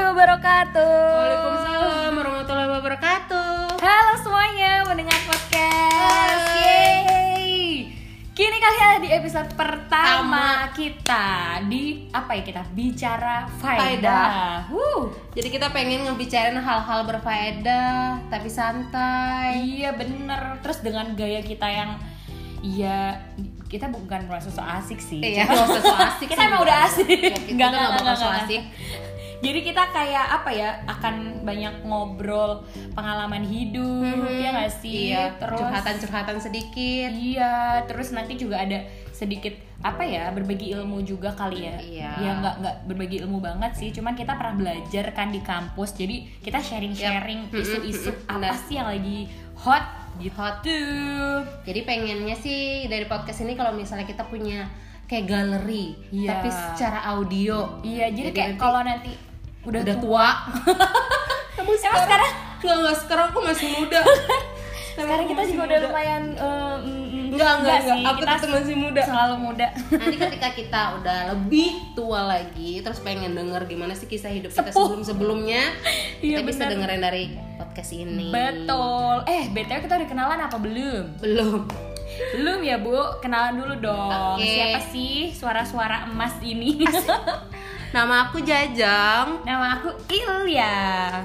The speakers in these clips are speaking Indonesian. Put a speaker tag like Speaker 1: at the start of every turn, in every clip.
Speaker 1: wabarakatuh.
Speaker 2: Waalaikumsalam warahmatullahi wabarakatuh.
Speaker 1: Halo semuanya mendengar podcast.
Speaker 2: Hai.
Speaker 1: Yeay. Kini kalian ada di episode pertama
Speaker 2: Pertama.
Speaker 1: kita di apa ya kita bicara faedah.
Speaker 2: Faedah. Jadi kita pengen ngebicarain hal-hal berfaedah tapi santai.
Speaker 1: Iya bener. Terus dengan gaya kita yang ya kita bukan merasa so asik sih.
Speaker 2: Iya.
Speaker 1: Cuma merasa so asik.
Speaker 2: Kita emang udah asik. Iya,
Speaker 1: Enggak
Speaker 2: Kita
Speaker 1: enggak
Speaker 2: nggak bakal
Speaker 1: enggak
Speaker 2: so
Speaker 1: enggak.
Speaker 2: asik.
Speaker 1: Jadi kita kayak apa ya akan banyak ngobrol pengalaman hidup ya nggak sih.
Speaker 2: Mm-hmm. Iya,
Speaker 1: Terus
Speaker 2: curhatan-curhatan sedikit.
Speaker 1: Iya, terus nanti juga ada sedikit apa ya berbagi ilmu juga kali ya.
Speaker 2: Iya.
Speaker 1: Ya nggak nggak berbagi ilmu banget sih, cuman kita pernah belajar kan di kampus, jadi kita sharing sharing
Speaker 2: Yap. Mm-mm,
Speaker 1: isu-isu
Speaker 2: mm-mm,
Speaker 1: apa
Speaker 2: benar.
Speaker 1: sih yang lagi hot gitu.
Speaker 2: Jadi pengennya sih dari podcast ini kalau misalnya kita punya kayak galeri
Speaker 1: Iya.
Speaker 2: tapi secara audio.
Speaker 1: Iya, jadi,
Speaker 2: Jadi
Speaker 1: kayak
Speaker 2: nanti
Speaker 1: kalau nanti udah,
Speaker 2: Udah
Speaker 1: tua,
Speaker 2: tua.
Speaker 1: emang sekarang
Speaker 2: Enggak, enggak sekarang aku masih muda.
Speaker 1: sekarang kita juga udah lumayan eh, mm, mm,
Speaker 2: Enggak, enggak, enggak.
Speaker 1: sih,
Speaker 2: Aku
Speaker 1: kita
Speaker 2: tetap masih muda.
Speaker 1: selalu muda.
Speaker 2: Nanti Nah, ketika kita udah lebih tua lagi, terus pengen denger gimana sih kisah hidup kita
Speaker 1: Sepuh.
Speaker 2: sebelum-sebelumnya,
Speaker 1: Iya,
Speaker 2: kita bisa
Speaker 1: benar.
Speaker 2: dengerin dari podcast ini.
Speaker 1: Betul. Eh, BTW kita udah kenalan apa belum?
Speaker 2: Belum.
Speaker 1: Belum ya Bu, kenalan dulu dong.
Speaker 2: Oke.
Speaker 1: Siapa sih suara-suara emas ini?
Speaker 2: Nama aku Jajang.
Speaker 1: Nama aku Ilya.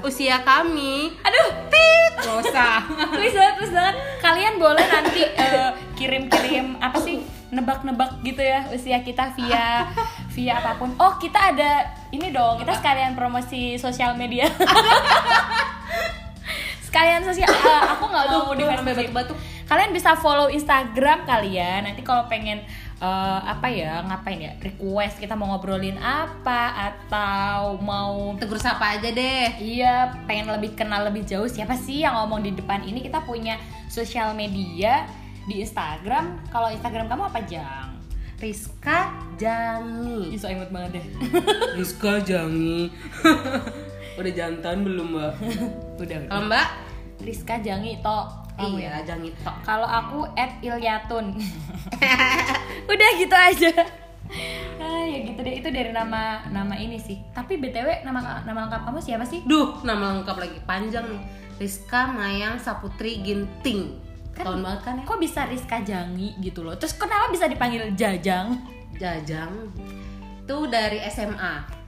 Speaker 2: Usia kami
Speaker 1: Aduh, tit.
Speaker 2: Gak usah.
Speaker 1: Please banget, please banget. Kalian boleh nanti eh, kirim-kirim apa sih? Nebak-nebak gitu ya usia kita via via apapun. Oh, kita ada ini dong. Kita sekalian promosi sosial media. sekalian sosial eh, aku nggak mau di Facebook.
Speaker 2: batuk-batuk.
Speaker 1: kalian bisa follow Instagram kalian nanti kalau pengen eh, apa ya ngapain ya request kita mau ngobrolin apa atau mau
Speaker 2: Tegur sapa aja deh.
Speaker 1: iya pengen lebih kenal lebih jauh siapa sih yang ngomong di depan ini kita punya sosial media di Instagram kalau Instagram kamu apa jang
Speaker 2: Rizka Jangi.
Speaker 1: Ih, so imut banget deh
Speaker 3: Rizka Jangi Udah jantan belum mbak?
Speaker 1: udah udah
Speaker 2: Kalau Mbak?
Speaker 1: Rizka Jangi to kamu ya.
Speaker 2: iya, Jangi tok.
Speaker 1: kalau aku at Ilyatun udah gitu aja ah ya gitu deh itu dari nama nama ini sih tapi btw nama nama lengkap kamu siapa sih
Speaker 2: Duh, nama lengkap lagi panjang nih. Rizka Mayang Saputri Ginting.
Speaker 1: Kan-
Speaker 2: Tahun banget kan ya?
Speaker 1: kok bisa Rizka Jangi gitu loh terus kenapa bisa dipanggil Jajang
Speaker 2: Jajang itu dari SMA.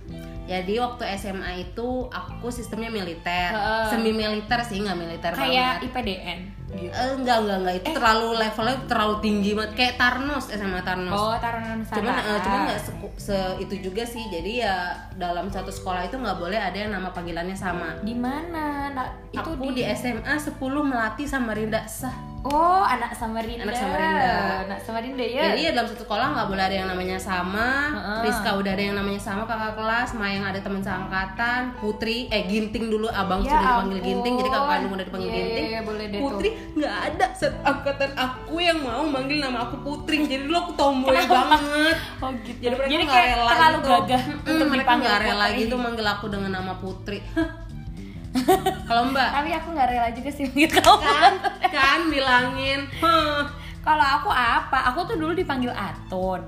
Speaker 2: Jadi waktu SMA itu aku sistemnya militer,
Speaker 1: Heeh.
Speaker 2: semi militer sih nggak militer
Speaker 1: kayak
Speaker 2: Iya banget.
Speaker 1: IPDN gitu
Speaker 2: Eh, enggak enggak enggak itu terlalu levelnya terlalu tinggi banget kayak Tarnus SMA Tarnus.
Speaker 1: oh Taruna Nusantara
Speaker 2: cuman eh, cuman nggak seku- se itu juga sih. Jadi ya dalam satu sekolah itu nggak boleh ada yang nama panggilannya sama.
Speaker 1: di mana Nak? itu
Speaker 2: aku di... SMA 10 Melati Samarinda sah.
Speaker 1: oh anak Samarinda
Speaker 2: Anak Samarinda.
Speaker 1: anak Samarinda ya
Speaker 2: Jadi ya dalam satu sekolah nggak boleh ada yang namanya sama.
Speaker 1: Heeh.
Speaker 2: Rizka udah ada yang namanya sama kakak kelas, Mayang ada teman seangkatan, Putri eh Ginting dulu abang
Speaker 1: Ya
Speaker 2: sudah dipanggil
Speaker 1: ampun.
Speaker 2: Ginting, jadi kakak kandung udah dipanggil
Speaker 1: Iya, iya,
Speaker 2: Ginting.
Speaker 1: iya, boleh deh tuh.
Speaker 2: Putri nggak ada seangkatan aku yang mau manggil nama aku Putri. Jadi dulu aku tomboy
Speaker 1: Kenapa?
Speaker 2: banget.
Speaker 1: Oh gitu.
Speaker 2: Jadi mereka nggak
Speaker 1: kayak
Speaker 2: rela
Speaker 1: terlalu
Speaker 2: gitu.
Speaker 1: gagah
Speaker 2: Mm-mm,
Speaker 1: untuk
Speaker 2: mereka
Speaker 1: dipanggil
Speaker 2: nggak rela
Speaker 1: putri.
Speaker 2: gitu manggil aku dengan nama Putri. Kalau Mbak
Speaker 1: Tapi aku nggak rela juga sih gitu. manggil kamu.
Speaker 2: kan kan bilangin. Hah.
Speaker 1: Kalau aku apa? Aku tuh dulu dipanggil Atun.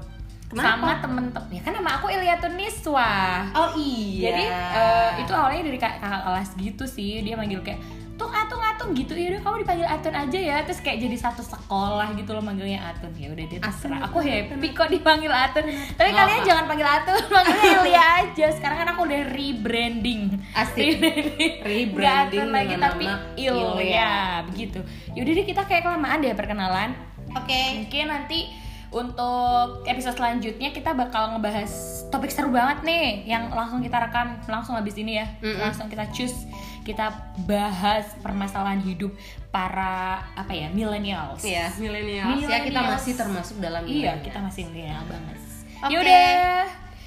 Speaker 2: Kenapa?
Speaker 1: Sama temen-temen. Ya kan nama aku Ilyatun Niswa.
Speaker 2: Oh iya.
Speaker 1: Jadi eh, itu awalnya dari kak- kakak kelas gitu sih. Dia manggil kayak Tung Atung Atung gitu. Ya udah kamu dipanggil Atun aja ya. Terus kayak jadi satu sekolah gitu loh manggilnya Atun. Ya udah dia terserah. Aku happy kok dipanggil Atun. Tapi
Speaker 2: Nggak
Speaker 1: kalian
Speaker 2: apa.
Speaker 1: jangan panggil Atun, manggilnya Ilya aja. Sekarang kan aku udah rebranding.
Speaker 2: Asik.
Speaker 1: Rebranding. Nggak
Speaker 2: Rebranding
Speaker 1: Atun lagi
Speaker 2: dengan
Speaker 1: tapi
Speaker 2: nama
Speaker 1: Ilya begitu. Yaudah deh kita kayak kelamaan deh perkenalan.
Speaker 2: Oke.
Speaker 1: Mungkin nanti untuk episode selanjutnya kita bakal ngebahas topik seru banget nih yang langsung kita rekam langsung habis ini ya.
Speaker 2: Mm-mm.
Speaker 1: Langsung kita choose kita bahas permasalahan hidup para apa ya millennials.
Speaker 2: Iya, milenial. Ya kita
Speaker 1: Millennials.
Speaker 2: masih termasuk dalam
Speaker 1: Iya,
Speaker 2: millennials.
Speaker 1: kita masih millennial banget.
Speaker 2: Oke.
Speaker 1: Yaudah.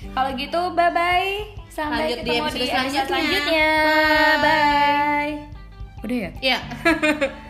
Speaker 1: Kalau gitu bye bye. Sampai
Speaker 2: Lanjut di
Speaker 1: ketemu
Speaker 2: episode
Speaker 1: di episode
Speaker 2: selanjutnya.
Speaker 1: selanjutnya. Bye. Udah ya?
Speaker 2: Iya.